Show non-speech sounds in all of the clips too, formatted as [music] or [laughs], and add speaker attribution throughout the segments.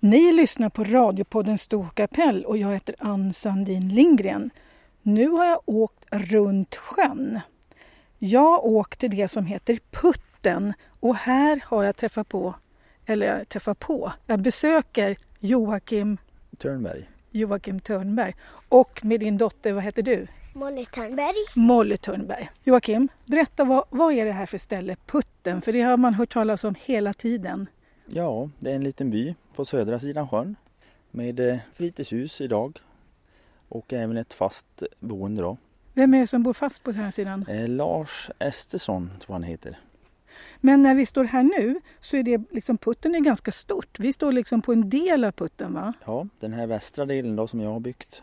Speaker 1: Ni lyssnar på radiopodden Stor kapell och jag heter Ann Sandin Lindgren. Nu har jag åkt runt sjön. Jag åkte det som heter Putten och här har jag träffat på, eller jag träffar på, jag besöker Joakim,
Speaker 2: Törnberg.
Speaker 1: Joakim Törnberg och med din dotter, vad heter du?
Speaker 3: Molly Törnberg.
Speaker 1: Molly Törnberg. Joakim, berätta vad, vad är det här för ställe, Putten? För det har man hört talas om hela tiden.
Speaker 2: Ja, det är en liten by på södra sidan sjön med eh, fritidshus idag och även ett fast boende då.
Speaker 1: Vem är det som bor fast på den här sidan?
Speaker 2: Eh, Lars Estersson tror han heter.
Speaker 1: Men när vi står här nu så är det liksom putten är ganska stort. Vi står liksom på en del av putten va?
Speaker 2: Ja, den här västra delen då som jag har byggt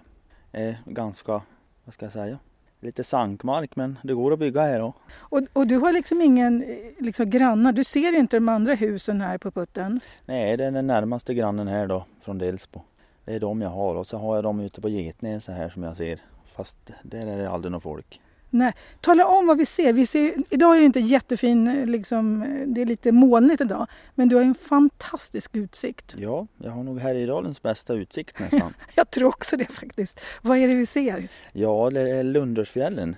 Speaker 2: är ganska, vad ska jag säga, lite sankmark men det går att bygga här då.
Speaker 1: Och, och du har liksom ingen eh, liksom grannar. Du ser inte de andra husen här på putten.
Speaker 2: Nej, det är den närmaste grannen här då från Delsbo. Det är de jag har och så har jag dem ute på Getnäs så här som jag ser. Fast där är det aldrig något folk.
Speaker 1: Nej. Tala om vad vi ser. vi ser. Idag är det inte jättefin, eh, liksom, eh, det är lite molnigt idag. Men du har ju en fantastisk utsikt.
Speaker 2: Ja, jag har nog Härjedalens bästa utsikt nästan.
Speaker 1: Jag tror också det faktiskt. Vad är det vi ser?
Speaker 2: Ja, det är Lundersfjällen.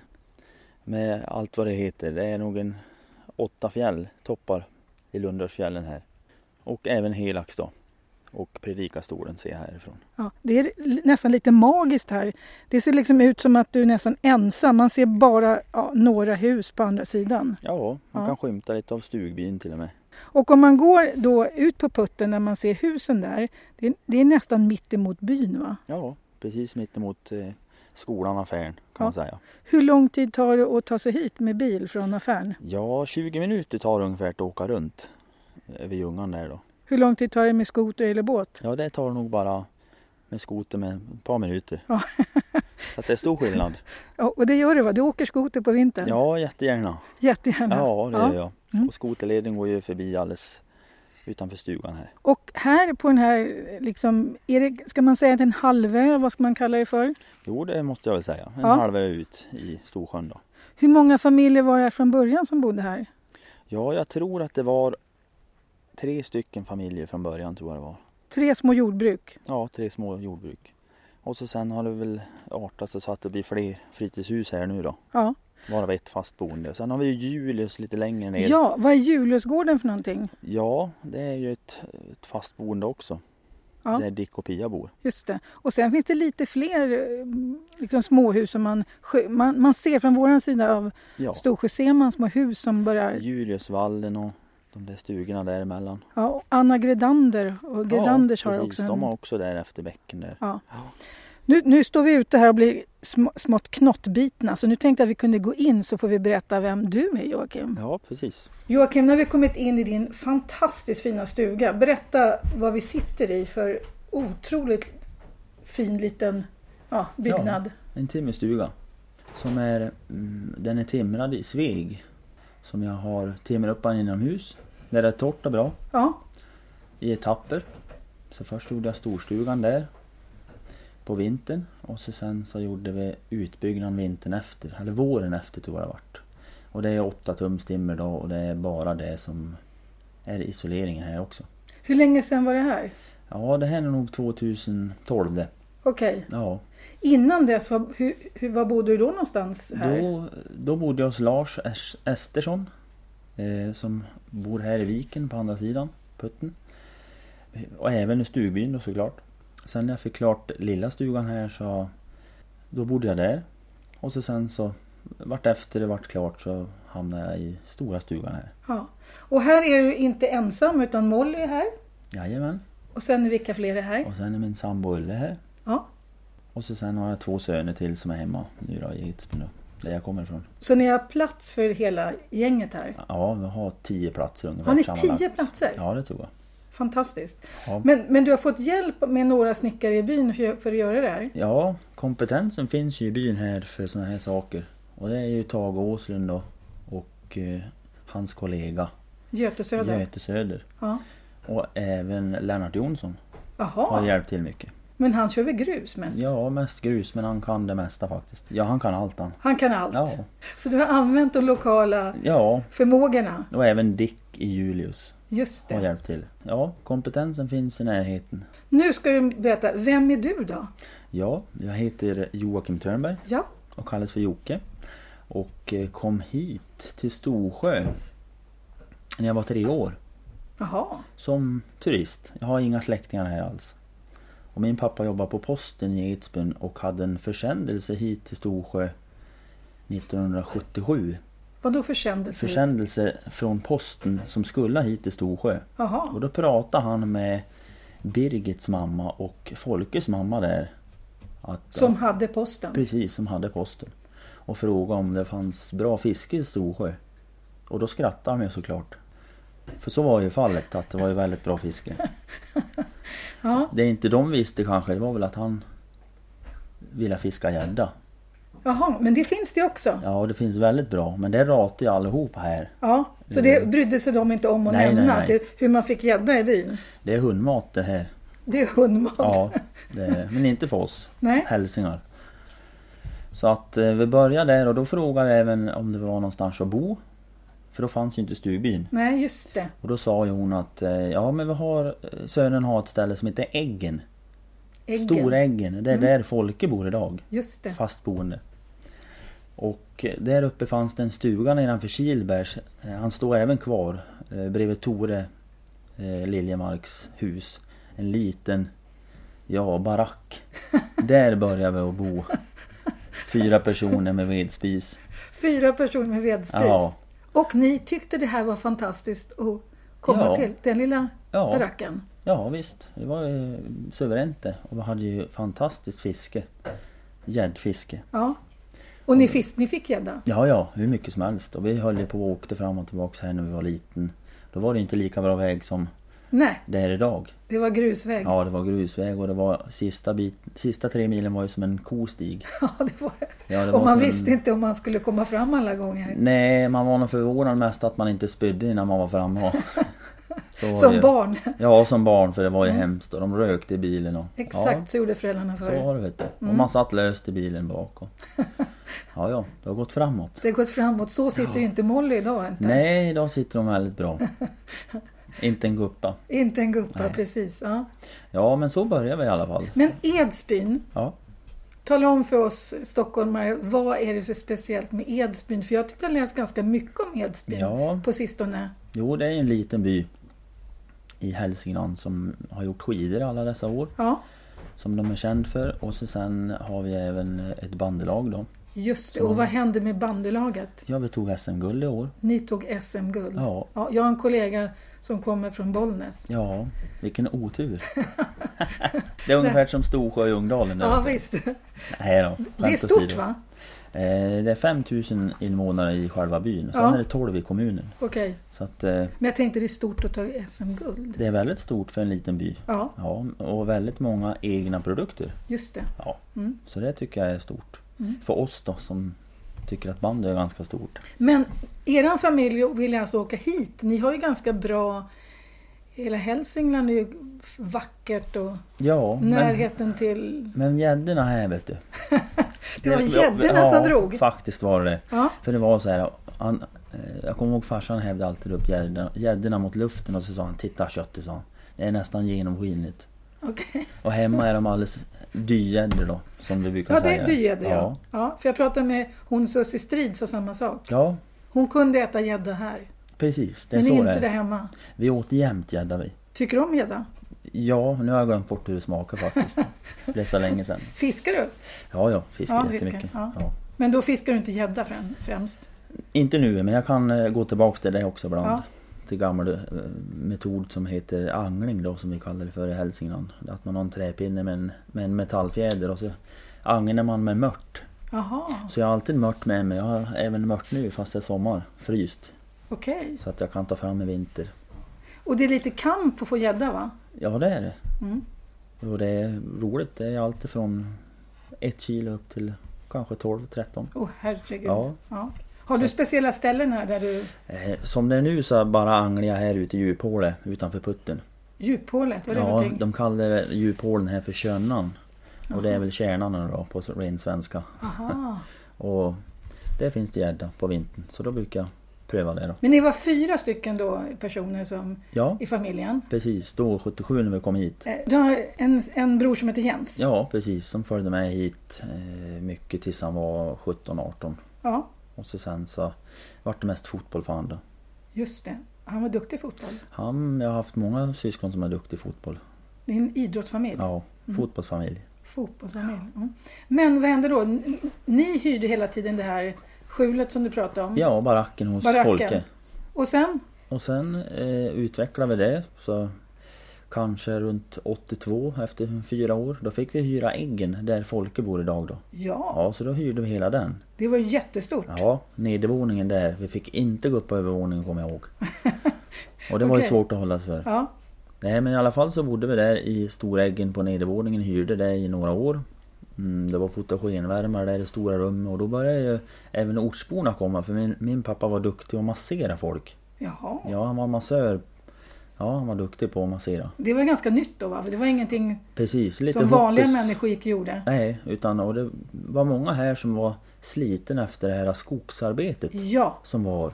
Speaker 2: Med allt vad det heter. Det är nog en åtta fjälltoppar i Lundersfjällen här. Och även Helax då. Och predikastolen ser jag härifrån.
Speaker 1: Ja, det är li- nästan lite magiskt här. Det ser liksom ut som att du är nästan ensam. Man ser bara ja, några hus på andra sidan.
Speaker 2: Ja, man
Speaker 1: Ja.
Speaker 2: kan skymta lite av stugbyn till och med.
Speaker 1: Och om man går då ut på putten när man ser husen där, det är, det är nästan mitt emot byn va?
Speaker 2: Ja, precis mitt emot eh, skolan, affären kan
Speaker 1: Ja.
Speaker 2: man säga.
Speaker 1: Hur lång tid tar det att ta sig hit med bil från affären?
Speaker 2: Ja, 20 minuter tar det ungefär att åka runt eh, vid Ljungan där då.
Speaker 1: Hur lång tid tar det med skoter eller båt?
Speaker 2: Ja, det tar nog bara med skoter med ett par minuter.
Speaker 1: Ja.
Speaker 2: Så att det är stor skillnad.
Speaker 1: [laughs] Ja, och det gör det va? Du åker skoter på vintern?
Speaker 2: Ja, jättegärna.
Speaker 1: Jättegärna.
Speaker 2: Ja, det
Speaker 1: Ja.
Speaker 2: gör jag.
Speaker 1: Mm.
Speaker 2: Och skoterleden går ju förbi alldeles utanför stugan här.
Speaker 1: Och här på den här, liksom, är det, ska man säga att det är en halvö? Vad ska man kalla det för?
Speaker 2: Jo, det måste jag väl säga. En
Speaker 1: Ja.
Speaker 2: halvö ut i Storsjön då.
Speaker 1: Hur många familjer var det här från början som bodde här?
Speaker 2: Ja, jag tror att det var tre stycken familjer från början tror jag det var.
Speaker 1: Tre små jordbruk.
Speaker 2: Ja, tre små jordbruk. Och så sen har det väl artat sig så att det blir fler fritidshus här nu då.
Speaker 1: Ja.
Speaker 2: Varav ett fast boende. Sen har vi ju Julius lite längre ner.
Speaker 1: ja, vad är Juliusgården för någonting?
Speaker 2: Ja, det är ju ett, ett fast boende också.
Speaker 1: Ja.
Speaker 2: Där Dick och Pia bor.
Speaker 1: Just det. Och sen finns det lite fler eh, liksom, småhus som man, skö- man, man ser från vår sida av
Speaker 2: Ja.
Speaker 1: Storsjö ser man små hus som börjar...
Speaker 2: Juliusvallen och de där stugorna däremellan.
Speaker 1: Ja, och Anna Gredander och Gredanders har
Speaker 2: precis.
Speaker 1: också
Speaker 2: De
Speaker 1: en...
Speaker 2: har också där efter bäcken där.
Speaker 1: Ja. Nu, nu står vi ute här och blir sm- smått knottbitna så nu tänkte jag att vi kunde gå in så får vi berätta vem du är Joakim.
Speaker 2: Ja, precis.
Speaker 1: Joakim, nu har vi kommit in i din fantastiskt fina stuga. Berätta vad vi sitter i för otroligt fin liten ja, byggnad.
Speaker 2: En timmerstuga. Som är, mm, den är timrad i sveg. Som jag har timrat upp inomhus. Där det är torrt och bra.
Speaker 1: Ja.
Speaker 2: I etapper. Så först gjorde jag storstugan där. På vintern. Och så sen så gjorde vi utbyggnaden vintern efter. Eller våren efter tror jag det vart. Och det är 8 tums timmer då och det är bara det som är isoleringen här också.
Speaker 1: Hur länge sedan var det här?
Speaker 2: Ja, det här är nog 2012 det.
Speaker 1: Okej.
Speaker 2: Ja.
Speaker 1: Innan dess, var, hur, hur, var bodde du då någonstans? Här?
Speaker 2: Då, då bodde jag hos Lars Es- Estersson. Eh, som bor här i viken på andra sidan putten. Eh, Och även i stugbyn då såklart. Sen när jag fick klart lilla stugan här så då bodde jag där. Och så sen så vart efter det vart klart så hamnade jag i stora stugan här.
Speaker 1: Ja. Och här är du inte ensam utan Molly är här.
Speaker 2: Jajamän.
Speaker 1: Och sen är vilka fler är här?
Speaker 2: Och sen är min sambo Ulle här.
Speaker 1: Ja.
Speaker 2: Och så sen har jag två söner till som är hemma nu då i Edsbyn då. Där jag kommer ifrån.
Speaker 1: Så ni har plats för hela gänget här?
Speaker 2: Ja, vi har tio platser ungefär
Speaker 1: Har ni
Speaker 2: sammanlagt.
Speaker 1: tio platser?
Speaker 2: Ja, det tror jag.
Speaker 1: Fantastiskt.
Speaker 2: Ja.
Speaker 1: Men, men du har fått hjälp med några snickare i byn för, för att göra det här?
Speaker 2: Ja, kompetensen finns ju i byn här för sådana här saker. Och det är ju Tage Åslund då och eh, hans kollega
Speaker 1: Göte Söder?
Speaker 2: Göte Söder.
Speaker 1: Ja.
Speaker 2: Och även Lennart Jonsson har
Speaker 1: Jaha,
Speaker 2: hjälpt till mycket.
Speaker 1: men han kör väl grus mest?
Speaker 2: Ja, mest grus men han kan det mesta faktiskt. Ja, han kan allt han.
Speaker 1: Han kan allt?
Speaker 2: Ja,
Speaker 1: Så du har använt de lokala
Speaker 2: ja
Speaker 1: förmågorna?
Speaker 2: och även Dick i Julius.
Speaker 1: Just
Speaker 2: har
Speaker 1: det.
Speaker 2: hjälpt till. Ja, kompetensen finns i närheten.
Speaker 1: Nu ska du berätta, vem är du då?
Speaker 2: Ja, jag heter Joakim Törnberg
Speaker 1: Ja,
Speaker 2: och kallas för Jocke. Och eh, kom hit till Storsjö när jag var tre år.
Speaker 1: jaha.
Speaker 2: Som turist. Jag har inga släktingar här alls. Och min pappa jobbade på posten i Edsbyn och hade en försändelse hit till Storsjö 1977.
Speaker 1: Vadå försändelse?
Speaker 2: Försändelse från posten som skulle hit till Storsjö. Och
Speaker 1: Jaha,
Speaker 2: då pratade han med Birgits mamma och Folkes mamma där. Att,
Speaker 1: som hade posten.
Speaker 2: Precis, som hade posten. Och frågade om det fanns bra fiske i Storsjö. Och då skrattade de ju såklart. För så var ju fallet, att det var ju väldigt bra fiske.
Speaker 1: [laughs] Ja,
Speaker 2: Det inte de visste kanske, det var väl att han ville fiska gädda.
Speaker 1: jaha, men det finns det också.
Speaker 2: Ja, och det finns väldigt bra, men det ratar ju allihopa här.
Speaker 1: Ja, så det brydde sig de inte om att
Speaker 2: Mm. Nej, nej,
Speaker 1: nämna
Speaker 2: nej.
Speaker 1: Det, hur man fick gädda i byn.
Speaker 2: Det är hundmat det här.
Speaker 1: Det är hundmat.
Speaker 2: Ja, det är, men inte för oss
Speaker 1: [laughs] Nej.
Speaker 2: hälsingar. Så att eh, vi började där och då frågade jag även om det var någonstans att bo. För då fanns ju inte stugbyn.
Speaker 1: Nej, just det.
Speaker 2: Och då sa ju hon att eh, ja men vi har, eh, Sören har ett ställe som heter Äggen.
Speaker 1: Äggen.
Speaker 2: Storäggen, det är där Folke bor idag.
Speaker 1: Just det.
Speaker 2: Fastboende. Och eh, där uppe fanns det en stuga nedanför Kilbergs. Eh, Han står även kvar eh, bredvid Tore eh, Liljemarks hus. En liten,
Speaker 1: [laughs]
Speaker 2: ja barack. Där började vi att bo. Fyra personer med vedspis.
Speaker 1: Fyra personer med vedspis.
Speaker 2: Ja.
Speaker 1: Och ni tyckte det här var fantastiskt att komma
Speaker 2: Ja.
Speaker 1: till, den lilla
Speaker 2: Ja.
Speaker 1: baracken.
Speaker 2: Ja visst, det var eh, suveränt det. Och vi hade ju fantastiskt fiske. Gäddfiske.
Speaker 1: Ja. Och ni, fisk, ni fick gädda?
Speaker 2: Ja, ja, hur mycket som helst. Och vi höll ju på och åkte fram och tillbaks här när vi var liten. Då var det ju inte lika bra väg som
Speaker 1: Nej,
Speaker 2: det är idag.
Speaker 1: det var grusväg.
Speaker 2: Ja, det var grusväg och det var sista, bit, sista tre milen var ju som en kostig.
Speaker 1: [laughs] Ja, det var
Speaker 2: Ja, det
Speaker 1: och
Speaker 2: var
Speaker 1: man
Speaker 2: som Mm. en-
Speaker 1: visste inte om man skulle komma fram alla gånger.
Speaker 2: Nej, man var nog förvånad mest att man inte spydde innan man
Speaker 1: [laughs]
Speaker 2: var framme. och- Så var
Speaker 1: Som
Speaker 2: det ju.
Speaker 1: barn. [laughs] Mm.
Speaker 2: Ja, som barn för det var ju hemskt och de rökte i bilen. Och,
Speaker 1: Exakt
Speaker 2: Ja,
Speaker 1: så gjorde föräldrarna
Speaker 2: så
Speaker 1: förr.
Speaker 2: var det vet du. Och
Speaker 1: Mm.
Speaker 2: man satt löst i bilen
Speaker 1: [laughs]
Speaker 2: bak. Och... Ja, ja, det har gått framåt.
Speaker 1: Det har gått framåt. Så sitter inte Molly idag. Inte,
Speaker 2: Nej, idag sitter de
Speaker 1: [laughs]
Speaker 2: väldigt bra. Inte en guppa.
Speaker 1: inte en guppa,
Speaker 2: Nej.
Speaker 1: precis. Ja.
Speaker 2: Ja, men så börjar vi i alla fall.
Speaker 1: Men Edsbyn,
Speaker 2: Ja.
Speaker 1: tala om för oss stockholmare, vad är det för speciellt med Edsbyn? För jag tyckte jag läst ganska mycket om Edsbyn
Speaker 2: Ja.
Speaker 1: på sistone.
Speaker 2: Jo, det är ju en liten by i Hälsingland som har gjort skidor alla dessa år.
Speaker 1: Ja,
Speaker 2: Som de är känd för. Och så sen har vi även ett bandelag då.
Speaker 1: just det. Och vad hände med bandelaget?
Speaker 2: Ja, vi tog SM-guld i år.
Speaker 1: Ni tog SM-guld.
Speaker 2: Ja.
Speaker 1: jag har en kollega som kommer från Bollnäs.
Speaker 2: Ja, vilken
Speaker 1: [laughs]
Speaker 2: otur. det är ungefär som Storsjö i Ljungdalen. där
Speaker 1: Ja,
Speaker 2: uppe.
Speaker 1: visst.
Speaker 2: Nej då,
Speaker 1: Det är
Speaker 2: skämt
Speaker 1: stort
Speaker 2: åsido.
Speaker 1: va?
Speaker 2: Eh, det är 5000 invånare i själva byn. Sen
Speaker 1: Ja.
Speaker 2: är det 12 i kommunen.
Speaker 1: Okej.
Speaker 2: Så att eh,
Speaker 1: Men jag tänkte det är stort att ta SM-guld.
Speaker 2: det är väldigt stort för en liten by.
Speaker 1: Ja,
Speaker 2: Ja, och väldigt många egna produkter.
Speaker 1: just det.
Speaker 2: Ja,
Speaker 1: Mm.
Speaker 2: så det tycker jag är stort. För oss då som tycker att bandy är ganska stort.
Speaker 1: Men er familj vill alltså åka hit. Ni har ju ganska bra... Hela Hälsingland är ju vackert och
Speaker 2: Ja, men,
Speaker 1: närheten till...
Speaker 2: men gäddorna här vet du.
Speaker 1: [laughs] Det var gäddorna som drog.
Speaker 2: faktiskt var det
Speaker 1: Ja.
Speaker 2: För det var så här. Han, eh, jag kommer ihåg farsan hävdade alltid upp gäddorna- gäddorna mot luften och så sa han Titta köttet sa han. Det är nästan genomskinligt.
Speaker 1: Okej.
Speaker 2: Och hemma är de alldeles dygäddor då. Som vi brukar
Speaker 1: Ja, det
Speaker 2: säga.
Speaker 1: är gädda ja.
Speaker 2: ja.
Speaker 1: ja. För jag pratade med hon Sussie Strid sa samma sak.
Speaker 2: Ja,
Speaker 1: Hon kunde äta gädda här,
Speaker 2: precis. Det är
Speaker 1: men
Speaker 2: så
Speaker 1: inte
Speaker 2: det
Speaker 1: där
Speaker 2: är.
Speaker 1: hemma.
Speaker 2: Vi åt jämt gädda vi.
Speaker 1: Tycker du om gädda?
Speaker 2: Ja, nu har jag glömt bort hur det
Speaker 1: [laughs]
Speaker 2: smakar faktiskt. Det är så länge sedan.
Speaker 1: Fiskar du?
Speaker 2: Ja, ja, fiskar
Speaker 1: Ja, fiskar,
Speaker 2: jättemycket.
Speaker 1: ja.
Speaker 2: Ja.
Speaker 1: Men då fiskar du inte gädda främ- främst?
Speaker 2: Inte nu, men jag kan eh, gå tillbaks till det också ibland.
Speaker 1: Ja.
Speaker 2: Till gammal eh, metod som heter angling då som vi kallar det för i Hälsingland. Att man har en träpinne med en, med en metallfjäder och så anglar man med mört.
Speaker 1: Jaha,
Speaker 2: Så jag har alltid mört med mig. Jag har även mört nu fast det är sommar. Fryst.
Speaker 1: okej.
Speaker 2: Så att jag kan ta fram i vinter.
Speaker 1: Och det är lite kamp att få gädda va?
Speaker 2: Ja det är det.
Speaker 1: Mm.
Speaker 2: Och det är roligt. Det är alltid från ett kilo upp till kanske 12-13.
Speaker 1: Åh herregud.
Speaker 2: Ja.
Speaker 1: Ja. Har du speciella ställen här där du...
Speaker 2: Eh, Som det är nu så bara anglar jag här ute i djuphålet utanför putten.
Speaker 1: Djuphålet, vad är det
Speaker 2: Ja,
Speaker 1: någonting?
Speaker 2: de kallar djuphålen här för könnan. Och det är väl kärnan nu då på ren svenska.
Speaker 1: Aha.
Speaker 2: Och där finns det gädda på vintern. Så då brukar jag pröva det då.
Speaker 1: [laughs] Men ni var fyra stycken då personer som,
Speaker 2: Ja,
Speaker 1: i familjen.
Speaker 2: precis. Då 77 när vi kom hit.
Speaker 1: Eh, Du har en, en bror som heter Jens.
Speaker 2: Ja, precis. Som följde med hit eh, mycket tills han var 17-18.
Speaker 1: Ja,
Speaker 2: Och så sen så vart det mest fotboll för han då.
Speaker 1: just det. Han var duktig i fotboll.
Speaker 2: Han, jag har haft många syskon som är duktiga i fotboll.
Speaker 1: Det är en idrottsfamilj.
Speaker 2: Ja,
Speaker 1: Mm.
Speaker 2: fotbollsfamilj.
Speaker 1: Fotbollsfamilj. Mm. Men vad hände då? Ni- Ni hyrde hela tiden det här skjulet som du pratade om.
Speaker 2: Ja, baracken hos
Speaker 1: Baracken.
Speaker 2: Folke.
Speaker 1: Och sen?
Speaker 2: Och sen eh, utvecklade vi det. Så kanske runt 82, efter fyra år, då fick vi hyra äggen där Folke bor idag då.
Speaker 1: Ja,
Speaker 2: Ja, så då hyrde vi hela den.
Speaker 1: det var ju jättestort.
Speaker 2: Ja, nedervåningen där. Vi fick inte gå upp på övervåningen kommer
Speaker 1: [laughs]
Speaker 2: jag ihåg. Och det var
Speaker 1: Okej.
Speaker 2: ju svårt att hålla sig för.
Speaker 1: Ja,
Speaker 2: Nej men i alla fall så bodde vi där i Storäggen på nedervåningen, hyrde det i några år. Mm, det var fotogenvärmare där i stora rummet och då började ju även ortsborna komma för min, min pappa var duktig att massera folk.
Speaker 1: jaha.
Speaker 2: Ja han var massör. Ja han var duktig på att massera.
Speaker 1: Det var ganska nytt då va? För det var ingenting
Speaker 2: Precis, lite
Speaker 1: som vanliga
Speaker 2: hoppis.
Speaker 1: människor gick och gjorde.
Speaker 2: Nej, utan och det var många här som var sliten efter det här skogsarbetet
Speaker 1: Ja,
Speaker 2: som var.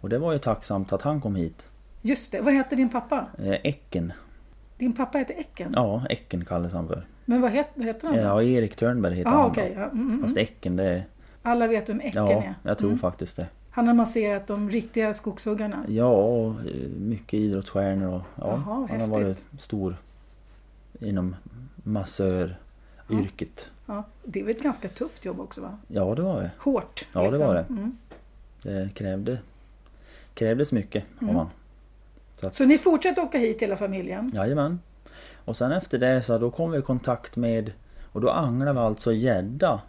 Speaker 2: Och det var ju tacksamt att han kom hit.
Speaker 1: just det. Vad hette din pappa?
Speaker 2: Eh, Äcken.
Speaker 1: Din pappa hette Ecken.
Speaker 2: Ja, Äcken kallas han för.
Speaker 1: Men vad het- vad heter han? då?
Speaker 2: Ja, Erik Törnberg heter
Speaker 1: ah,
Speaker 2: han.
Speaker 1: okej.
Speaker 2: då.
Speaker 1: Ja, mm, mm.
Speaker 2: Fast Äcken det är...
Speaker 1: Alla vet vem Ecken
Speaker 2: Ja,
Speaker 1: är.
Speaker 2: jag tror faktiskt det.
Speaker 1: Han har masserat de riktiga skogshuggarna.
Speaker 2: Ja, och eh, mycket idrottsstjärnor och ja,
Speaker 1: Jaha,
Speaker 2: han
Speaker 1: häftigt.
Speaker 2: har varit stor inom massöryrket.
Speaker 1: Ja, det var ett ganska tufft jobb också va?
Speaker 2: Ja, det var det.
Speaker 1: Hårt.
Speaker 2: Ja, det var det.
Speaker 1: Mm.
Speaker 2: Det krävde, krävdes mycket
Speaker 1: Mm.
Speaker 2: av han.
Speaker 1: Så ni fortsatte åka hit hela familjen?
Speaker 2: Jajamän. Och sen efter det så då kom vi i kontakt med och då anglade vi alltså gädda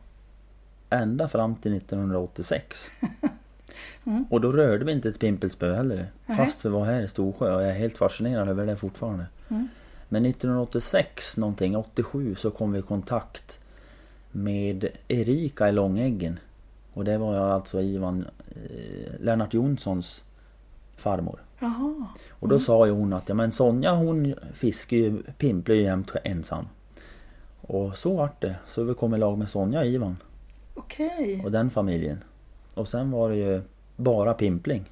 Speaker 2: ända fram till 1986. Och då rörde vi inte ett pimpelspö heller.
Speaker 1: Nej.
Speaker 2: Fast vi var här i Storsjö och jag är helt fascinerad över det fortfarande. Men 1986 någonting, 87 så kom vi i kontakt med Erika i Långäggen. Och det var alltså Ivan eh, Lennart Jonssons farmor.
Speaker 1: Jaha.
Speaker 2: Och då sa ju hon att ja, men Sonja hon fiskar ju, pimplar ju jämt ensam. Och så vart det. Så vi kom i lag med Sonja och Ivan
Speaker 1: Okej.
Speaker 2: och den familjen. Och sen var det ju bara pimpling.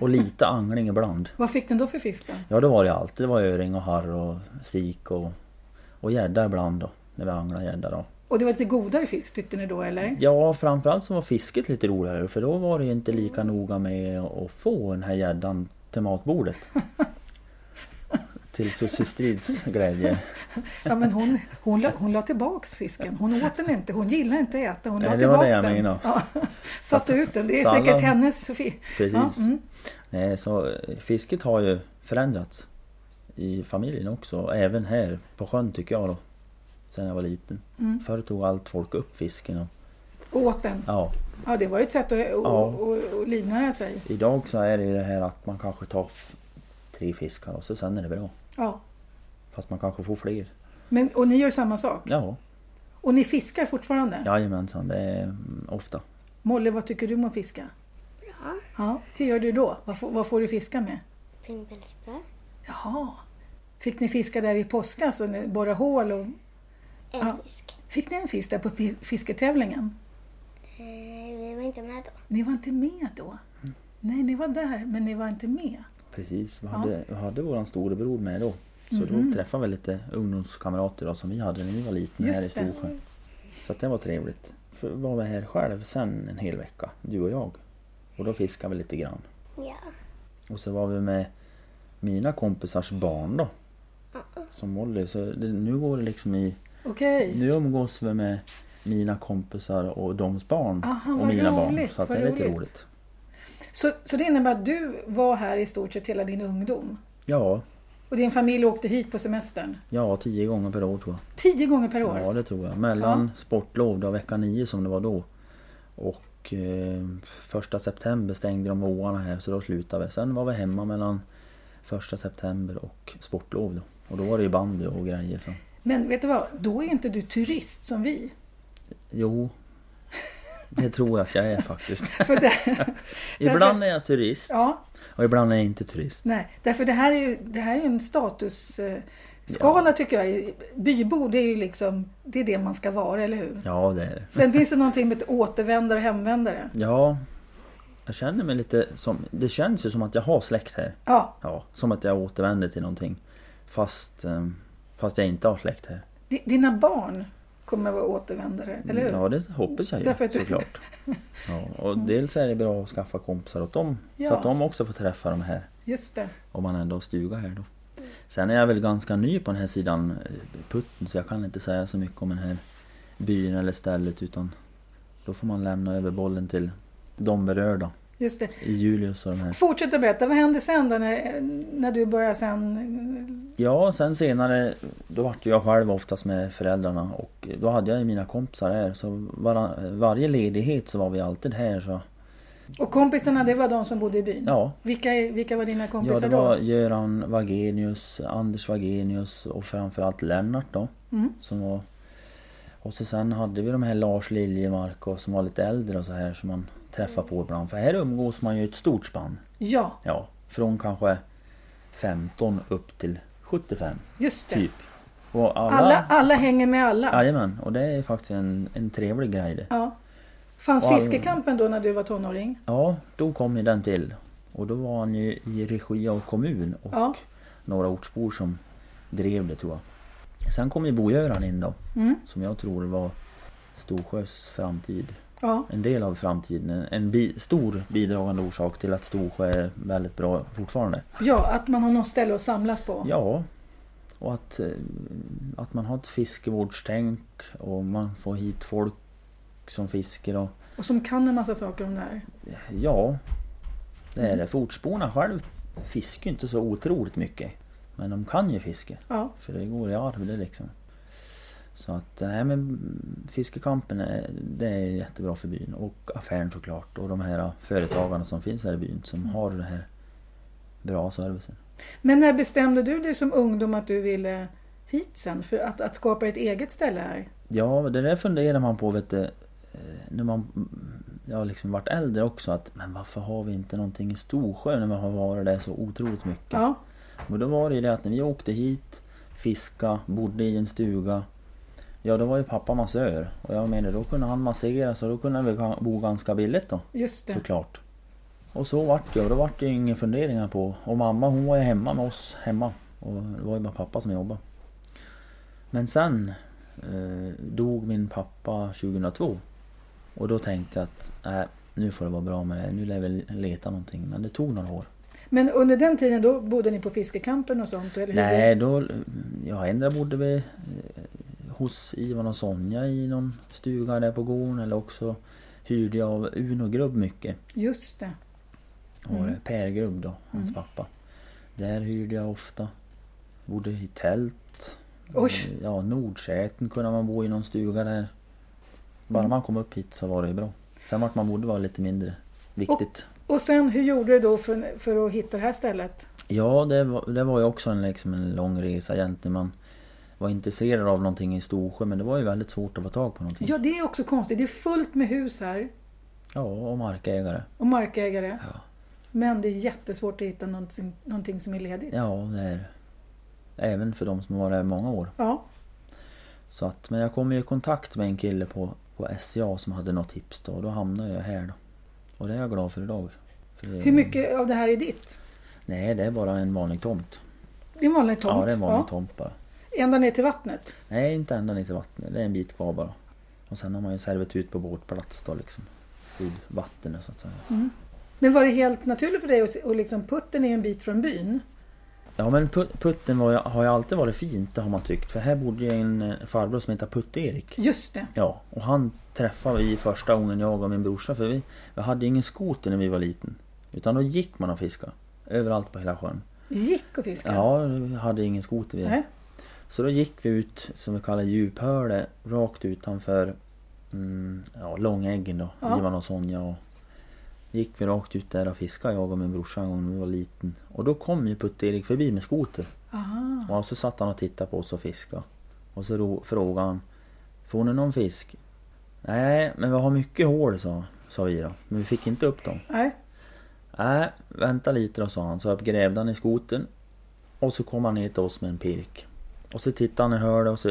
Speaker 2: Och lite angling ibland.
Speaker 1: Vad fick den då för fisk då?
Speaker 2: Ja det var det alltid. Det var öring och harr och sik och och gädda ibland då. När vi anglade gädda då.
Speaker 1: Och det var lite godare fisk tyckte ni då eller?
Speaker 2: Ja framförallt så var fisket lite roligare för då var det ju inte lika noga med att få den här gäddan till matbordet. till Sussie Strids glädje.
Speaker 1: Ja men hon, hon, la, hon la tillbaks fisken. Hon åt den inte. Hon gillade inte att äta. Hon la
Speaker 2: Nej, det var det
Speaker 1: tillbaks
Speaker 2: jag
Speaker 1: den.
Speaker 2: menade.
Speaker 1: Ja, satte ut den. Det är
Speaker 2: Så alla-
Speaker 1: säkert hennes fi-
Speaker 2: Precis.
Speaker 1: Ja, mm.
Speaker 2: Nej, så eh, fisket har ju förändrats i familjen också. och Även här på sjön tycker jag då. Sen jag var liten.
Speaker 1: Mm.
Speaker 2: Förr tog allt folk upp fisken. Och,
Speaker 1: Åt den.
Speaker 2: ja,
Speaker 1: Ja det var ju ett sätt att att-
Speaker 2: Ja.
Speaker 1: att- att livnära sig.
Speaker 2: idag så är det ju det här att man kanske tar f- tre fiskar och så sen är det bra.
Speaker 1: Ja.
Speaker 2: Fast man kanske får fler.
Speaker 1: Men, och ni gör samma sak?
Speaker 2: Ja,
Speaker 1: Och ni fiskar fortfarande?
Speaker 2: jajamensan. Det är mm, ofta.
Speaker 1: Molly, vad tycker du om att fiska?
Speaker 3: Ja,
Speaker 1: Ja, hur gör du då? Vad får, vad får du fiska med?
Speaker 3: pimpelspö.
Speaker 1: Jaha. Fick ni fiska där vid påsk, alltså när- borra hål? Och...
Speaker 3: En
Speaker 1: Ja.
Speaker 3: fisk.
Speaker 1: Fick ni en fisk där på fi- fisketävlingen?
Speaker 3: Eh, vi var inte med då.
Speaker 1: Ni var inte med då? Nej, ni var där, men ni var inte med.
Speaker 2: Precis, vi hade, vi hade våran storebror med då. Så
Speaker 1: Mhm.
Speaker 2: då träffade vi lite ungdomskamrater då, som vi hade när vi var liten här i
Speaker 1: Just det.
Speaker 2: Storsjö. Så att det var trevligt. Så var vi här själv sen en hel vecka, du och jag. Och då fiskade vi lite grann.
Speaker 3: Ja.
Speaker 2: Och så var vi med mina kompisars barn då. Som Molly. Så det, nu går det liksom i...
Speaker 1: Okej.
Speaker 2: Nu umgås vi med mina kompisar och deras barn.
Speaker 1: Aha,
Speaker 2: och
Speaker 1: vad
Speaker 2: mina barn.
Speaker 1: roligt,
Speaker 2: Så att det
Speaker 1: vad
Speaker 2: är lite
Speaker 1: roligt.
Speaker 2: roligt.
Speaker 1: Så, så det innebär att du var här i stort sett hela din ungdom?
Speaker 2: Ja,
Speaker 1: Och din familj åkte hit på semestern?
Speaker 2: ja, tio gånger per år tror jag.
Speaker 1: Tio gånger per år?
Speaker 2: Ja det tror jag. Mellan sportlov, då, vecka 9 som det var då. Och eh, första september stängde de åarna här så då slutade vi. Sen var vi hemma mellan första september och sportlov då. Och då var det ju bandy och grejer sen.
Speaker 1: Men vet du vad, då är inte du turist som vi.
Speaker 2: Jo. Det tror jag att jag är
Speaker 1: [laughs]
Speaker 2: faktiskt.
Speaker 1: För det,
Speaker 2: Ibland är jag turist
Speaker 1: ja,
Speaker 2: och ibland är jag inte turist.
Speaker 1: Nej, därför det här är ju, det här är ju en statusskala tycker jag. Bybo, det är ju liksom, det är det man ska vara, eller hur?
Speaker 2: Ja det är det.
Speaker 1: Sen finns det någonting med ett återvändare och hemvändare.
Speaker 2: Ja. Jag känner mig lite som... Det känns ju som att jag har släkt här.
Speaker 1: Ja,
Speaker 2: Ja, som att jag återvänder till någonting. Fast, eh, fast jag inte har släkt här.
Speaker 1: di- dina barn kommer att vara återvändare, eller hur?
Speaker 2: Ja, det hoppas jag ju
Speaker 1: Därför att du- [laughs]
Speaker 2: såklart. Ja, och dels är det bra att skaffa kompisar åt dem.
Speaker 1: Ja.
Speaker 2: Så att de också får träffa de här.
Speaker 1: Just det.
Speaker 2: Om man ändå har stuga här då. Sen är jag väl ganska ny på den här sidan eh, putten så jag kan inte säga så mycket om den här byn eller stället utan då får man lämna över bollen till de berörda.
Speaker 1: Just det.
Speaker 2: I Julius och de här.
Speaker 1: Fortsätt att berätta, vad hände sen då när, när du började sen?
Speaker 2: Ja, sen senare då vart jag själv oftast med föräldrarna och då hade jag ju mina kompisar här så var, varje ledighet så var vi alltid här så
Speaker 1: Och kompisarna, det var de som bodde i byn?
Speaker 2: ja.
Speaker 1: Vilka, vilka var dina
Speaker 2: Ja,
Speaker 1: kompisar
Speaker 2: det var
Speaker 1: då?
Speaker 2: Göran Wagenius, Anders Wagenius och framförallt Lennart då.
Speaker 1: Mm.
Speaker 2: Som var... Och så sen hade vi de här Lars Liljemark och som var lite äldre och så här som man träffar på ibland. För här umgås man ju i ett stort spann.
Speaker 1: Ja,
Speaker 2: Ja, från kanske 15 upp till 75
Speaker 1: just det.
Speaker 2: typ. Och alla...
Speaker 1: Alla, alla hänger med alla.
Speaker 2: Jajamän, och det är faktiskt en, en trevlig grej det.
Speaker 1: Ja. Fanns
Speaker 2: Och alla-
Speaker 1: fiskekampen då när du var tonåring?
Speaker 2: Ja, då kom ju den till. Och då var han ju i regi av kommun och
Speaker 1: Ja.
Speaker 2: några ortsbor som drev det tror jag. Sen kom ju Bogöran in då.
Speaker 1: Mm.
Speaker 2: Som jag tror var Storsjös framtid.
Speaker 1: Ja,
Speaker 2: En del av framtiden. En, en bi, stor bidragande orsak till att Storsjö är väldigt bra fortfarande.
Speaker 1: ja att man har något ställe att samlas på.
Speaker 2: Ja. Och att, eh, att man har ett fiskevårdstänk och man får hit folk som fiskar och
Speaker 1: Och som kan en massa saker om det här.
Speaker 2: Ja, det är det. För ortsborna själv fiskar ju inte så otroligt mycket. Men de kan ju fiske,
Speaker 1: Ja.
Speaker 2: för det går i arv det liksom. Så att, nej men fiskekampen är, det är jättebra för byn och affären såklart och de här företagarna som finns här i byn som har den här bra servicen.
Speaker 1: Men när bestämde du dig som ungdom att du ville hit sen? För att, att skapa ett eget ställe här?
Speaker 2: Ja, det där funderar man på vet du, eh, när man jag har liksom varit äldre också att men varför har vi inte någonting i Storsjö när man har varit där så otroligt mycket?
Speaker 1: Ja.
Speaker 2: Och då var det ju det att när vi åkte hit, fiska, bodde i en stuga. Ja, då var ju pappa massör. Och jag menar, då kunde han massera så då kunde vi ga- bo ganska billigt då.
Speaker 1: Just det.
Speaker 2: Såklart. Och så vart det och då vart det ju inga funderingar på. Och mamma hon var ju hemma med oss hemma. Och det var ju bara pappa som jobbade. Men sen eh, dog min pappa 2002. Och då tänkte jag att nej, nu får det vara bra med det. Nu lär vi leta någonting. Men det tog några år.
Speaker 1: Men under den tiden då bodde ni på fiskekampen och sånt? Eller hur?
Speaker 2: Nej, då... mm, Ja, ändå bodde vi eh, hos Ivan och Sonja i någon stuga där på gården eller också hyrde jag av Uno Grubb mycket.
Speaker 1: Just det.
Speaker 2: Och
Speaker 1: Mm.
Speaker 2: eh, Per Grubb då, hans pappa. Där hyrde jag ofta. Bodde i tält.
Speaker 1: Oj.
Speaker 2: Eh, Ja, Nordsäten kunde man bo i någon stuga där.
Speaker 1: Mm.
Speaker 2: Bara man kom upp hit så var det ju bra. Sen vart man bodde var lite mindre viktigt.
Speaker 1: Och sen hur gjorde du då för, för att hitta det här stället?
Speaker 2: Ja, det var, det var ju också en, liksom en lång resa egentligen. Man var intresserad av någonting i Storsjö men det var ju väldigt svårt att få tag på någonting.
Speaker 1: Ja, det är också konstigt. Det är fullt med hus här
Speaker 2: Ja, och markägare.
Speaker 1: och markägare.
Speaker 2: Ja.
Speaker 1: Men det är jättesvårt att hitta någonting, någonting som är ledigt.
Speaker 2: Ja, det är Även för de som har varit här i många år.
Speaker 1: Ja.
Speaker 2: Så att, men jag kom ju i kontakt med en kille på, på SCA som hade något tips då och då hamnade jag här då. Och det är jag glad för idag. För,
Speaker 1: Hur mycket av det här är ditt?
Speaker 2: Nej, det är bara en vanlig tomt.
Speaker 1: Det är en vanlig tomt.
Speaker 2: Ja, det är en vanlig tomt bara.
Speaker 1: Ända ner till vattnet.
Speaker 2: Nej, inte ända ner till vattnet. Det är en bit kvar bara. Och sen har man ju servitut på båtplats då liksom. Vid vattnet så att säga.
Speaker 1: Men var det helt naturligt för dig att se- och liksom putten är en bit från byn?
Speaker 2: Ja men Put- Putten var ju, har ju alltid varit fint, det har man tyckt. För här bodde ju en eh, farbror som heter Putt-Erik.
Speaker 1: Just det.
Speaker 2: Ja, och han träffade vi första gången jag och min brorsa. För vi, vi hade ju ingen skoter när vi var liten. Utan då gick man och fiskade. Överallt på hela sjön.
Speaker 1: Gick och fiskade?
Speaker 2: Ja, vi hade ingen skoter vi.
Speaker 1: Nej.
Speaker 2: Så då gick vi ut, som vi kallar djuphöle, rakt utanför mm, ja, Långäggen då,
Speaker 1: Ja.
Speaker 2: Ivan och Sonja. Och gick vi rakt ut där och fiskade jag och min brorsa en gång när vi var liten. Och då kom ju Putt-Erik förbi med skoter.
Speaker 1: Aha.
Speaker 2: Ja, så satt han och tittade på oss och fiskade. Och så ro- frågade han. Får ni någon fisk? Nej, men vi har mycket hål sa, sa vi då. Men vi fick inte upp dem.
Speaker 1: Nej.
Speaker 2: Nej, vänta lite då sa han. Så grävde han i skoten. Och så kom han ner till oss med en pirk. Och så tittade han i hörde och så...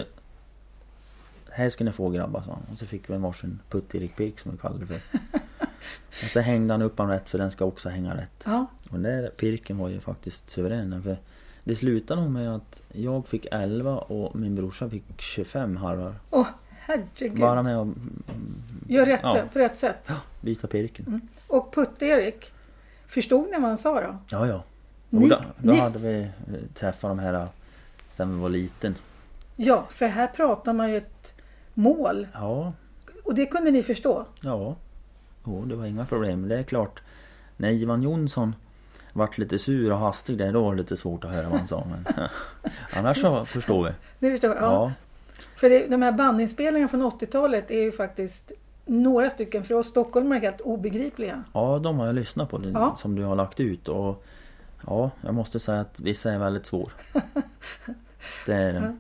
Speaker 2: Här ska ni få grabbar sa han. Och så fick vi en varsin putt-Erik-pirk som vi kallade det för. Och så hängde han upp han rätt för den ska också hänga rätt.
Speaker 1: Ja.
Speaker 2: Och den där pirken var ju faktiskt suverän. För det slutade nog med att jag fick 11 och min brorsa fick 25 harvar.
Speaker 1: Åh, herregud.
Speaker 2: Bara med att
Speaker 1: Gör rätt
Speaker 2: Ja.
Speaker 1: sätt, på rätt sätt.
Speaker 2: byta pirken.
Speaker 1: Mm. Och Putte-Erik, förstod ni vad han sa då?
Speaker 2: Ja, ja.
Speaker 1: Ni-
Speaker 2: Och då då
Speaker 1: ni-
Speaker 2: hade vi eh, träffat de här eh, sen vi var liten.
Speaker 1: Ja, för här pratar man ju ett mål.
Speaker 2: Ja,
Speaker 1: Och det kunde ni förstå?
Speaker 2: ja. Jo, det var inga problem. Det är klart. När Ivan Jonsson vart lite sur och hastig där, då var det lite svårt att höra vad han sa. Men [laughs] annars så förstår vi.
Speaker 1: Ni förstår? Ja.
Speaker 2: Ja,
Speaker 1: För det, de här bandinspelningarna från 80-talet är ju faktiskt några stycken för oss stockholmare helt obegripliga.
Speaker 2: ja de har jag lyssnat på din-
Speaker 1: Ja.
Speaker 2: som du har lagt ut. Och ja, jag måste säga att vissa är
Speaker 1: [laughs]
Speaker 2: väldigt svår. Det är de.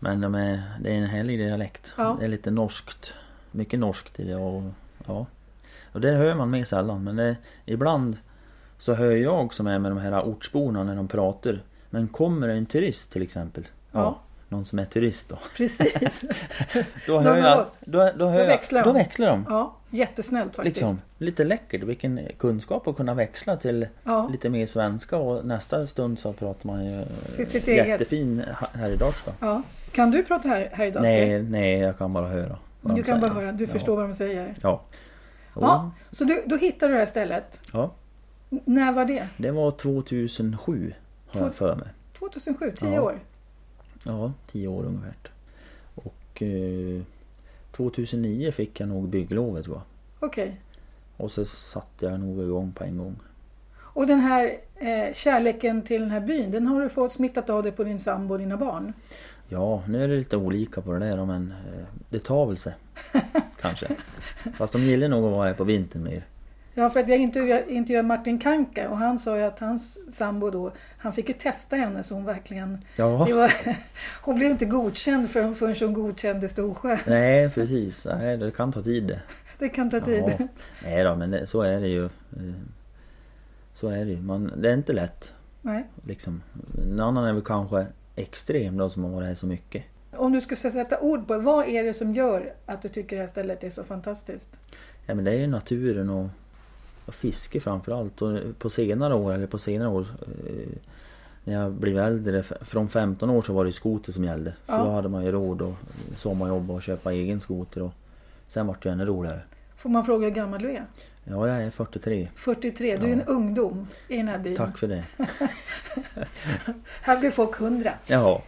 Speaker 2: Men de är, det är en härlig dialekt.
Speaker 1: Ja.
Speaker 2: Det är lite norskt. Mycket norskt i det och ja. Och det hör man mer sällan men det, ibland så hör jag som är med de här ortsborna när de pratar. Men kommer det en turist till exempel.
Speaker 1: Ja.
Speaker 2: Någon som är turist då. [laughs]
Speaker 1: Precis.
Speaker 2: Då
Speaker 1: Någon
Speaker 2: hör
Speaker 1: av
Speaker 2: jag,
Speaker 1: oss.
Speaker 2: då, då hör
Speaker 1: Då
Speaker 2: jag,
Speaker 1: växlar de.
Speaker 2: Då växlar de.
Speaker 1: [laughs] ja, jättesnällt faktiskt.
Speaker 2: Liksom, lite läckert. Vilken kunskap att kunna växla till
Speaker 1: Ja.
Speaker 2: lite mer svenska och nästa stund så pratar man ju eh,
Speaker 1: Sitt- sitt eget.
Speaker 2: jättefin ha- härjedalska.
Speaker 1: Ja. Kan du prata här, här idag?
Speaker 2: Nej, nej, jag kan bara höra. vad
Speaker 1: Du
Speaker 2: de
Speaker 1: kan bara
Speaker 2: säger.
Speaker 1: höra, du
Speaker 2: ja.
Speaker 1: förstår vad de säger.
Speaker 2: Ja. Jo,
Speaker 1: Ja, så du, då hittar du det här stället.
Speaker 2: ja.
Speaker 1: N- När var det?
Speaker 2: Det var 2007 har jag
Speaker 1: Två-
Speaker 2: för mig.
Speaker 1: 2007, 10
Speaker 2: Ja.
Speaker 1: år?
Speaker 2: Ja, tio år ungefär. Och eh, 2009 fick jag nog bygglovet tror jag.
Speaker 1: Okej.
Speaker 2: Och så satte jag nog igång på en gång.
Speaker 1: Och den här eh, kärleken till den här byn, den har du fått smittat av dig på din sambo och dina barn?
Speaker 2: Ja, nu är det lite olika på det där då, men eh, det
Speaker 1: [laughs]
Speaker 2: tar väl sig. Kanske. Fast de gillar nog att vara här på vintern mer.
Speaker 1: Ja, för att jag intervjuade, intervjuade Martin Kanke och han sa ju att hans sambo då, han fick ju testa henne så hon verkligen...
Speaker 2: Ja.
Speaker 1: Det var, [laughs] hon blev inte godkänd förrän, förrän hon godkände Storsjö.
Speaker 2: Nej, precis. Nej, det kan ta tid det.
Speaker 1: Det kan ta tid.
Speaker 2: Ja. Nej då, men det, så är det ju. Eh, Så är det ju. Man, det är inte lätt.
Speaker 1: Nej.
Speaker 2: Liksom. En annan är väl kanske extrem då som har varit här så mycket.
Speaker 1: Om du skulle sätta ord på vad är det som gör att du tycker det här stället är så fantastiskt?
Speaker 2: Ja men det är ju naturen och, och fiske framförallt. Och på senare år, eller på senare år eh, när jag blev äldre, f- från 15 år så var det ju skoter som gällde. För
Speaker 1: Ja.
Speaker 2: då hade man ju råd och sommarjobb och köpa egen skoter. Och, sen vart det ju ännu roligare.
Speaker 1: Får man fråga hur gammal du är?
Speaker 2: Ja, jag är 43.
Speaker 1: 43, du är en ungdom i den här byn.
Speaker 2: Tack för det.
Speaker 1: Här blir folk Mm. 100.
Speaker 2: Jaha.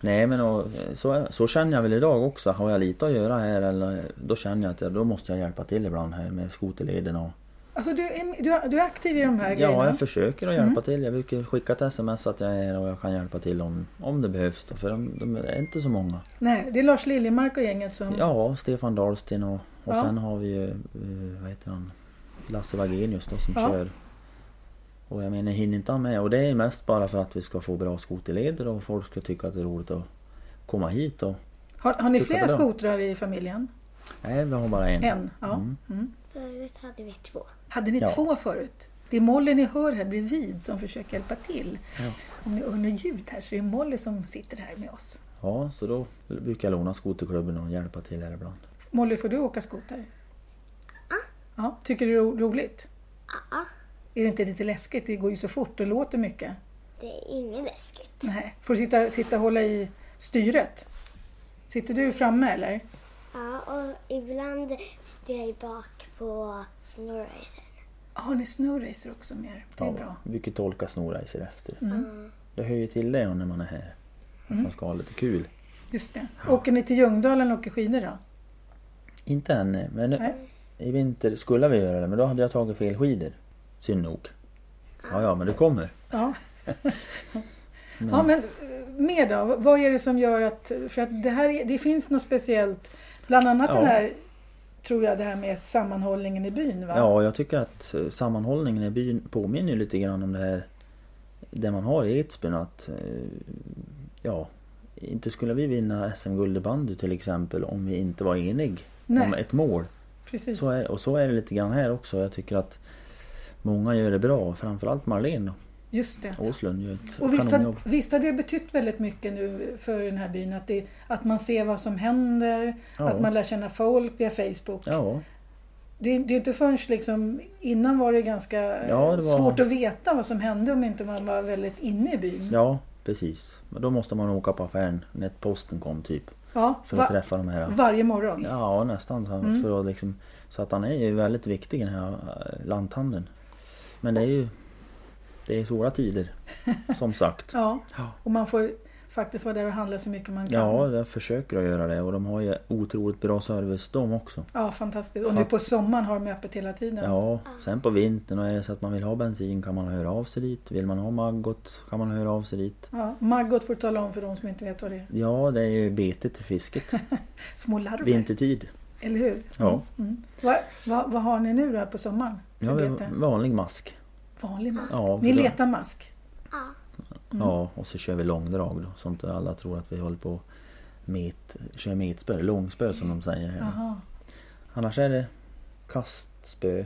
Speaker 2: Nej men och, eh, så, så känner jag väl idag också. Har jag lite att göra här eller då känner jag att jag, då måste jag hjälpa till ibland här med skoterleden och
Speaker 1: Alltså du är, du, är- du är aktiv i de här
Speaker 2: Ja,
Speaker 1: grejerna? Mm.
Speaker 2: jag försöker att hjälpa till. Jag brukar skicka ett sms att jag är här och jag kan hjälpa till om, om det behövs. Då, för de, de är inte så många.
Speaker 1: Nej, det är Lars Liljemark och gänget som...
Speaker 2: Ja, Stefan Dahlsten och, och
Speaker 1: Ja.
Speaker 2: sen har vi ju, eh, vad heter han, Lasse Wagenius då som
Speaker 1: Ja.
Speaker 2: kör. Och jag menar, jag hinner inte ha med. Och det är mest bara för att vi ska få bra skoterleder och folk ska tycka att det är roligt att komma hit. Och,
Speaker 1: Har, har ni
Speaker 2: Titta
Speaker 1: flera
Speaker 2: på dem.
Speaker 1: skotrar i familjen?
Speaker 2: nej, vi har bara en.
Speaker 1: En? Ja.
Speaker 2: Mm.
Speaker 1: Mm.
Speaker 3: Förut hade vi två.
Speaker 1: Hade ni
Speaker 2: Ja.
Speaker 1: två förut? Det är Molly ni hör här bredvid som försöker hjälpa till.
Speaker 2: Ja.
Speaker 1: Om ni hör något ljud här så det är Molly som sitter här med oss.
Speaker 2: Ja, så då brukar jag låna skoterklubben och hjälpa till här ibland.
Speaker 1: Molly, får du åka skoter? Ja. Tycker du det är ro- roligt?
Speaker 3: Ja,
Speaker 1: Är det inte lite läskigt? Det går ju så fort och låter mycket.
Speaker 3: det är inget läskigt.
Speaker 1: Nej. Får du sitta, sitta och hålla i styret? Sitter du framme eller?
Speaker 3: Ja, och ibland sitter jag i bak på snowracen.
Speaker 1: Har ni snowracer också med er? Det är bra.
Speaker 2: Vi brukar tolka snorracer efter. Det hör ju till det när man är här.
Speaker 1: Mm.
Speaker 2: Att man ska ha lite kul.
Speaker 1: Just det. Åker ni till Ljungdalen och åker skidor då?
Speaker 2: Inte än, nej, men
Speaker 1: Nej.
Speaker 2: i vinter skulle vi göra det men då hade jag tagit fel skidor. Synd nog. Ja, ja, men det kommer.
Speaker 1: Ja. [laughs] ja, men eh, mer då? Vad är det som gör att... För att det, här, är- det finns något speciellt. Bland annat
Speaker 2: Ja.
Speaker 1: den här, tror jag, det här med sammanhållningen i byn. Va?
Speaker 2: Ja, jag tycker att eh, sammanhållningen i byn påminner ju lite grann om det här det man har i Edsbyn att eh, ja, inte skulle vi vinna SM-guld i bandy till exempel om vi inte var enig
Speaker 1: Nej.
Speaker 2: om ett mål.
Speaker 1: Precis.
Speaker 2: Så är, och så är det lite grann här också. Jag tycker att många gör det bra. Framförallt Marlene då.
Speaker 1: Just det.
Speaker 2: Åslund gör ett
Speaker 1: Och visst har,
Speaker 2: kanonjobb.
Speaker 1: visst har det betytt väldigt mycket nu för den här byn att, det, att man ser vad som händer,
Speaker 2: Ja.
Speaker 1: att man lär känna folk via Facebook.
Speaker 2: Ja,
Speaker 1: Det, det är inte förrän liksom, innan var det ganska eh,
Speaker 2: Ja, det var-
Speaker 1: svårt att veta vad som hände om inte man var väldigt inne i byn.
Speaker 2: Ja, precis. Men då måste man åka på affären när posten kom typ.
Speaker 1: Ja,
Speaker 2: För att
Speaker 1: va-
Speaker 2: träffa de här.
Speaker 1: varje morgon.
Speaker 2: Ja, nästan. Så,
Speaker 1: Mm.
Speaker 2: för att liksom, så att han är ju väldigt viktig den här eh, lanthandeln. Men det är ju det är
Speaker 1: [laughs]
Speaker 2: svåra tider. Som sagt.
Speaker 1: Ja,
Speaker 2: Ja.
Speaker 1: och man får faktiskt vara där och handla så mycket man kan.
Speaker 2: Ja, jag försöker att göra det och de har ju otroligt bra service de också.
Speaker 1: Ja, fantastiskt. Och nu på sommaren har de öppet hela tiden.
Speaker 2: Ja, sen på vintern och är det så att man vill ha bensin kan man höra av sig dit. Vill man ha maggot kan man höra av sig dit.
Speaker 1: Ja, Maggot får tala om för de som inte vet vad det är.
Speaker 2: Ja, det är ju betet
Speaker 1: [laughs]
Speaker 2: till fisket.
Speaker 1: Små larver,
Speaker 2: Vintertid.
Speaker 1: eller hur?
Speaker 2: Ja.
Speaker 1: Mm. Va, va, vad har ni nu då här på sommaren?
Speaker 2: Nu har
Speaker 1: för
Speaker 2: vi
Speaker 1: bete?
Speaker 2: vanlig mask.
Speaker 1: Vanlig mask?
Speaker 2: Ja,
Speaker 1: ni
Speaker 2: för då-
Speaker 1: letar mask?
Speaker 3: Ja.
Speaker 1: Mm.
Speaker 2: Ja, och så kör vi långdrag då. Så inte alla tror att vi håller på met, kör metspö, eller långspö som de säger. här.
Speaker 1: Jaha.
Speaker 2: Annars är det kastspö.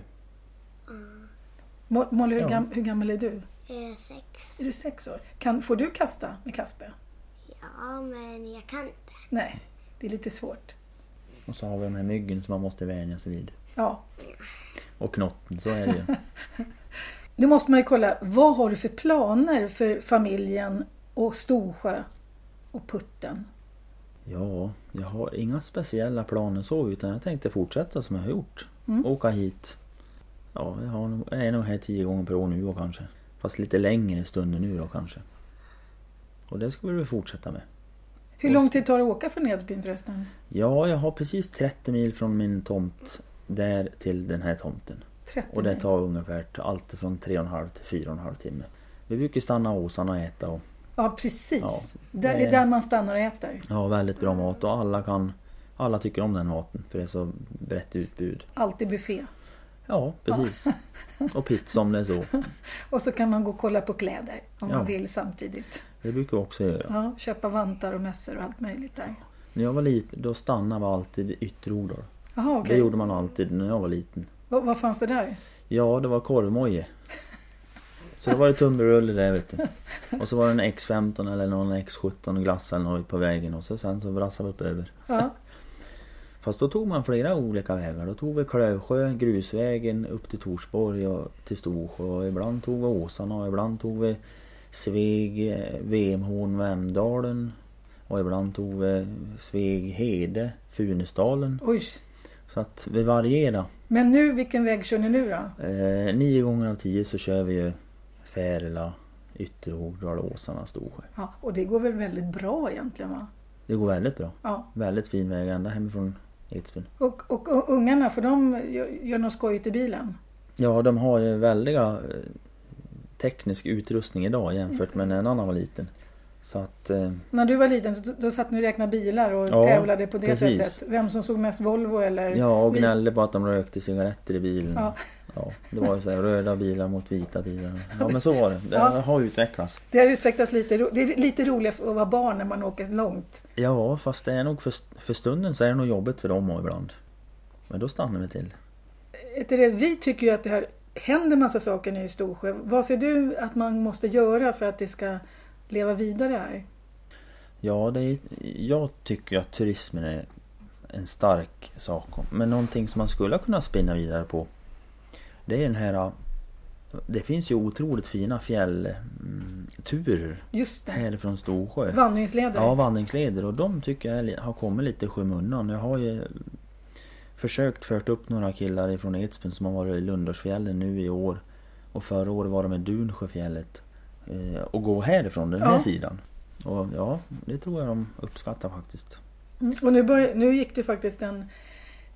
Speaker 1: Mo- Molly, hur,
Speaker 2: Ja.
Speaker 1: gam, hur gammal är du?
Speaker 3: Eh, sex.
Speaker 1: Är du sex år? Kan, får du kasta med kastspö?
Speaker 3: Ja, men jag kan inte.
Speaker 1: Nej, det är lite svårt.
Speaker 2: Och så har vi den här myggen som man måste vänja sig vid.
Speaker 1: Ja.
Speaker 2: Och knotten, så är det
Speaker 1: [laughs]
Speaker 2: ju.
Speaker 1: Nu måste man ju kolla, vad har du för planer för familjen och Storsjö och Putten?
Speaker 2: Ja, jag har inga speciella planer så utan jag tänkte fortsätta som jag har gjort.
Speaker 1: Mm.
Speaker 2: Åka hit. Ja, jag, har nog, jag är nog här tio gånger per år nu och kanske. Fast lite längre stunder nu då kanske. Och det ska vi väl fortsätta med.
Speaker 1: Hur lång tid tar det att åka från Edsbyn förresten?
Speaker 2: Ja, jag har precis 30 mil från min tomt där till den här tomten.
Speaker 1: 30
Speaker 2: Och det
Speaker 1: mil.
Speaker 2: tar ungefär allt från tre och en halv till fyra och en halv timme. Vi brukar stanna och åsarna och äta och
Speaker 1: Ja, precis.
Speaker 2: Ja,
Speaker 1: Där, det är
Speaker 2: det-
Speaker 1: där man stannar och äter.
Speaker 2: ja, väldigt bra mat och alla kan alla tycker om den maten för det är så brett utbud.
Speaker 1: Alltid buffé.
Speaker 2: Ja, precis. Och pizza om det är så.
Speaker 1: Och så kan man gå och kolla på kläder om
Speaker 2: Ja.
Speaker 1: man vill samtidigt.
Speaker 2: Det brukar vi också göra.
Speaker 1: Ja, köpa vantar och mössor och allt möjligt där.
Speaker 2: När jag var liten då stannade vi alltid i Ytterhogdal.
Speaker 1: Jaha,
Speaker 2: Det
Speaker 1: okej.
Speaker 2: gjorde man alltid när jag var liten.
Speaker 1: Vad, vad fanns det där?
Speaker 2: Ja, det var korvmoje. Så då var det tunnbrödsrulle där vet du. Och så var det en X15 eller någon X17 glass eller något på vägen och så sen så brassade vi upp över.
Speaker 1: Ja,
Speaker 2: Fast då tog man flera olika vägar. Då tog vi Klövsjö, grusvägen upp till Torsborg och till Storsjö. Och ibland tog vi Åsarna och ibland tog vi Sveg, eh, Vemhorn, Vemdalen. Och ibland tog vi Sveg, Hede, Funäsdalen.
Speaker 1: oj.
Speaker 2: Så att vi varierar.
Speaker 1: Men nu, vilken väg kör ni nu då?
Speaker 2: Eh, nio gånger av tio så kör vi ju Färila, Ytterhogdal, Åsarna, Storsjö.
Speaker 1: Ja, och det går väl väldigt bra egentligen va?
Speaker 2: Det går väldigt bra.
Speaker 1: Ja.
Speaker 2: Väldigt fin väg ända hemifrån Edsbyn.
Speaker 1: Och, och, och ungarna, för de gör, gör något skojigt i bilen?
Speaker 2: Ja, de har ju väldiga eh, teknisk utrustning idag jämfört med när en annan var liten. Så att, eh,
Speaker 1: När du var liten så, då satt ni och räknade bilar och
Speaker 2: Ja,
Speaker 1: tävlade på det
Speaker 2: precis.
Speaker 1: sättet. Vem som såg mest Volvo eller...
Speaker 2: ja, och
Speaker 1: vi-
Speaker 2: gnällde på att de rökte cigaretter i bilen.
Speaker 1: Ja.
Speaker 2: Ja. det var ju så här, röda bilar mot vita bilar. Ja, men så var det. Det
Speaker 1: Ja.
Speaker 2: har utvecklats.
Speaker 1: Det har utvecklats lite. ro- Det är lite roligt att vara barn när man åker långt.
Speaker 2: Ja, fast det är nog för, för stunden så är det nog jobbigt för dem ibland. Men då stannar vi till.
Speaker 1: Vet du det, Vi tycker ju att det här händer massa saker nu i Storsjö. Vad ser du att man måste göra för att det ska leva vidare här?
Speaker 2: Ja, det är, jag tycker att turismen är en stark sak. Men någonting som man skulle kunna spinna vidare på. Det är den här... Det finns ju otroligt fina fjällturer
Speaker 1: Just det,
Speaker 2: härifrån Storsjö.
Speaker 1: vandringsleder.
Speaker 2: Ja, vandringsleder. Och de tycker jag är li- har kommit lite i skymundan. Jag har ju försökt fört upp några killar ifrån Edsbyn som har varit i Lundarsfjällen nu i år. Och förra året var de i Dunsjöfjället. eh, Och gå härifrån den här
Speaker 1: Ja.
Speaker 2: sidan. Och ja, det tror jag de uppskattar faktiskt.
Speaker 1: Mm, Och nu, börj- nu gick det faktiskt en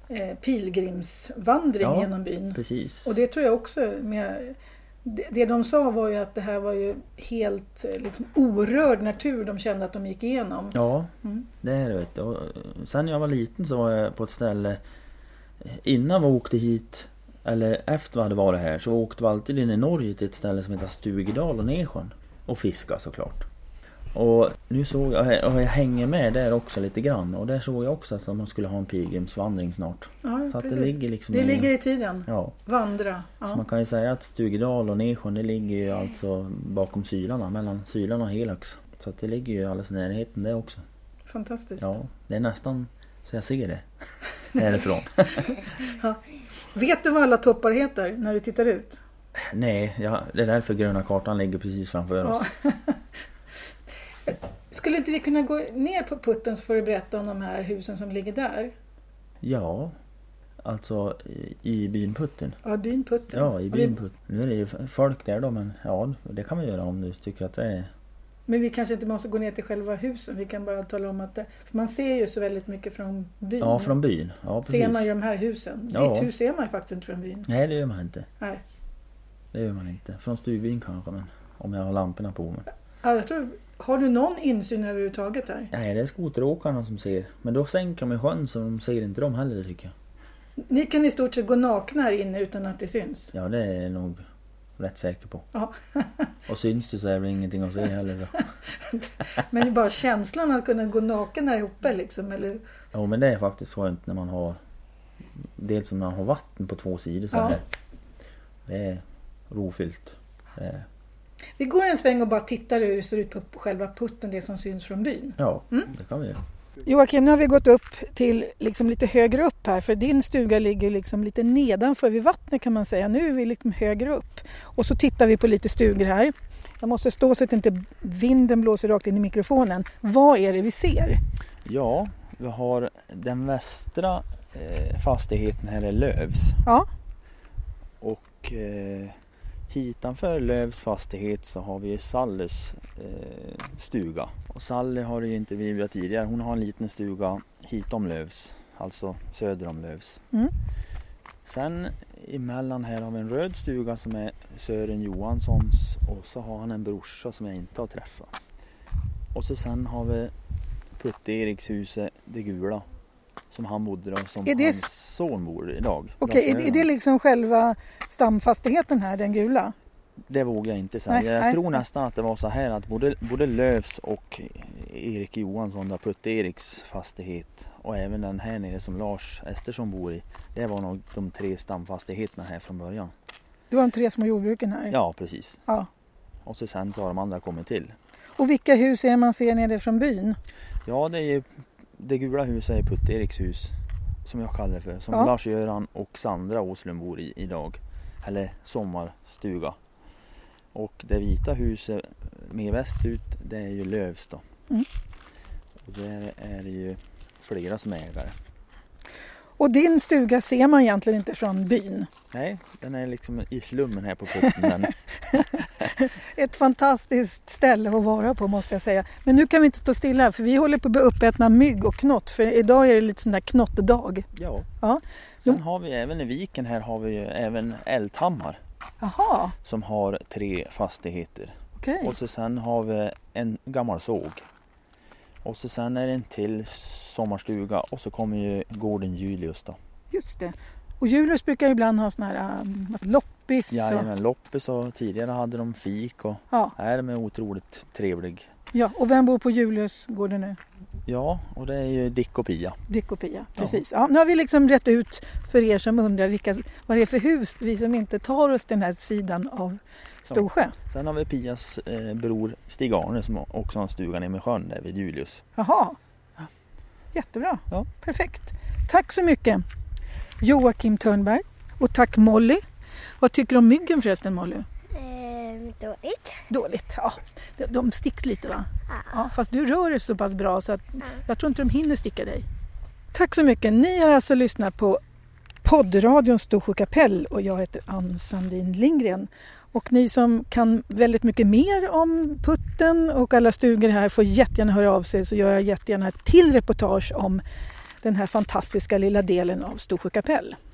Speaker 1: eh, pilgrimsvandring
Speaker 2: Ja.
Speaker 1: genom byn.
Speaker 2: Precis.
Speaker 1: Och det tror jag också med... Det det de sa var ju att det här var ju helt eh, liksom, orörd natur de kände att de gick igenom.
Speaker 2: Ja,
Speaker 1: Mm.
Speaker 2: det är det. Vet du. Och, eh, Sen när jag var liten så var jag på ett ställe eh, Innan vi åkte hit Eller efter vi hade varit här så åkte vi alltid in i Norge till ett ställe som heter Stugedal och Nesjön Och fiska såklart Och nu såg jag, och jag hänger med där också lite grann Och där såg jag också att man skulle ha en pilgrimsvandring snart
Speaker 1: Ja,
Speaker 2: Så att det
Speaker 1: precis.
Speaker 2: ligger liksom
Speaker 1: det
Speaker 2: i-
Speaker 1: ligger i tiden.
Speaker 2: Ja,
Speaker 1: Vandra.
Speaker 2: så
Speaker 1: Ja.
Speaker 2: man kan ju säga att Stugedal och Nesjön det ligger ju alltså bakom Sylarna, mellan Sylarna och Helax Så att det ligger ju alldeles i närheten det också
Speaker 1: Fantastiskt.
Speaker 2: Ja, det [laughs] är nästan så jag ser det. härifrån.
Speaker 1: Vet du vad alla toppar heter när du tittar ut?
Speaker 2: Nej, ja, det är därför gröna kartan ligger precis framför oss.
Speaker 1: Skulle inte vi kunna gå ner på putten så får du berätta om de här husen som ligger där?
Speaker 2: Ja, alltså i- i byn Putten.
Speaker 1: Ja, byn Putten.
Speaker 2: Ja, i
Speaker 1: Och vi-
Speaker 2: byn Putten. Nu är det ju folk där då, men ja, det kan man göra om du tycker att det är...
Speaker 1: Men vi kanske inte måste gå ner till själva husen. Vi kan bara tala om att det, för man ser ju så väldigt mycket från byn.
Speaker 2: Ja, från byn. Ja,
Speaker 1: Ser man ju
Speaker 2: precis.
Speaker 1: de här husen.
Speaker 2: Ja.
Speaker 1: Ditt hus ser man ju faktiskt inte från byn.
Speaker 2: Nej, det gör man inte.
Speaker 1: Nej.
Speaker 2: Det gör man inte. Från stugbyn kanske, men om jag har lamporna på mig.
Speaker 1: Ja, jag tror, har du någon insyn överhuvudtaget här?
Speaker 2: Nej, det är skoteråkarna som ser. Men då sänker de i sjön så de ser inte dem heller tycker jag.
Speaker 1: Ni kan i stort sett gå nakna här inne utan att det syns.
Speaker 2: Ja, det är jag nog rätt säker på.
Speaker 1: Ja.
Speaker 2: Och syns det så är det ingenting att se heller.
Speaker 1: [laughs]
Speaker 2: Så.
Speaker 1: Men bara känslan att kunna gå naken här uppe liksom. Eller,
Speaker 2: Jo, men det är faktiskt skönt när man har... Dels som när man har vatten på två sidor så
Speaker 1: Ja.
Speaker 2: här. Det är rofyllt. Det är-
Speaker 1: vi går en sväng och bara tittar hur det ser ut på själva putten, det som syns från byn.
Speaker 2: Ja, det kan vi göra.
Speaker 1: Joakim, nu har vi gått upp till liksom lite högre upp här för din stuga ligger liksom lite nedanför vid vattnet kan man säga. Nu är vi liksom högre upp. Och så tittar vi på lite stugor här. Jag måste stå så att inte vinden blåser rakt in i mikrofonen. Vad är det vi ser?
Speaker 2: Ja, vi har den västra eh, fastigheten här är Lövs.
Speaker 1: Ja.
Speaker 2: Och eh, hitanför Lövs fastighet så har vi ju Sallys eh, stuga. Och Sally har ju intervjuat tidigare. Hon har en liten stuga hitom Lövs, alltså söder om Lövs.
Speaker 1: Mm.
Speaker 2: Sen emellan här har vi en röd stuga som är Sören Johanssons och så har han en brorsa som jag inte har träffat. Och så sen har vi Putte-Eriks huset, det gula, som han bodde då, som
Speaker 1: Är det-
Speaker 2: hans son bor i idag.
Speaker 1: Okej, är,
Speaker 2: Lars-Göran.
Speaker 1: är det liksom själva stamfastigheten här, den gula?
Speaker 2: Det vågar jag inte säga.
Speaker 1: Nej,
Speaker 2: jag
Speaker 1: nej.
Speaker 2: tror nästan att det var så här att både, både Lövs och Erik Johansson, där Putte-Eriks fastighet och även den här nere som Lars Estersson bor i. Det var nog de tre stamfastigheterna här från början.
Speaker 1: Det var de tre små jordbruken här.
Speaker 2: Ja, precis.
Speaker 1: Ja.
Speaker 2: Och så sen så har de andra kommit till.
Speaker 1: Och vilka hus är det man ser nere från byn?
Speaker 2: Ja, det är ju det gula huset är Putte-Eriks hus som jag kallar det för. Som
Speaker 1: Ja.
Speaker 2: Lars-Göran och Sandra Åslund bor i idag. Eller sommarstuga. Och det vita huset mer västut det är ju Lövs då.
Speaker 1: Mm.
Speaker 2: Och där är det ju flera som är ägare.
Speaker 1: Och din stuga ser man egentligen inte från byn.
Speaker 2: Nej, den är liksom i slummen här på
Speaker 1: [laughs]
Speaker 2: putten. Den.
Speaker 1: Ett fantastiskt ställe att vara på måste jag säga. Men nu kan vi inte stå stilla här, för vi håller på att bli uppätna av mygg och knott för idag är det lite sån där knottdag.
Speaker 2: ja.
Speaker 1: Ja.
Speaker 2: Sen har vi även i viken här har vi ju även Eldhammar
Speaker 1: Jaha,
Speaker 2: som har tre fastigheter.
Speaker 1: okej.
Speaker 2: Och så sen har vi en gammal såg. Och så sen är det en till sommarstuga och så kommer ju gården Julius då.
Speaker 1: Just det. Och Julius brukar ju ibland ha sån här um, loppis. och,
Speaker 2: Jajamän, loppis och tidigare hade de fik och
Speaker 1: ja.
Speaker 2: här de är otroligt trevlig.
Speaker 1: ja. Och vem bor på Juliusgården nu?
Speaker 2: Ja, och det är ju Dick och Pia.
Speaker 1: Dick och Pia, precis. Ja, nu har vi liksom rätt ut för er som undrar vilka, vad det är för hus, vi som inte tar oss den här sidan av Storsjö.
Speaker 2: Sen har vi Pias eh, bror Stig-Arne som också har en stuga nere med sjön där vid Julius.
Speaker 1: Jaha, jättebra.
Speaker 2: Ja.
Speaker 1: Perfekt. Tack så mycket Joakim Törnberg och tack Molly. Vad tycker du om myggen förresten Molly?
Speaker 3: Ehm, dåligt.
Speaker 1: Dåligt, ja. De- De sticks lite va?
Speaker 3: Ja.
Speaker 1: Ja, fast du rör dig så pass bra så att jag tror inte de hinner sticka dig. Tack så mycket. Ni har alltså lyssnat på poddradion Storsjö kapell och jag heter Ann Sandin Lindgren. Och ni som kan väldigt mycket mer om putten och alla stugor här får jättegärna höra av sig så gör jag jättegärna ett till reportage om den här fantastiska lilla delen av Storsjö kapell.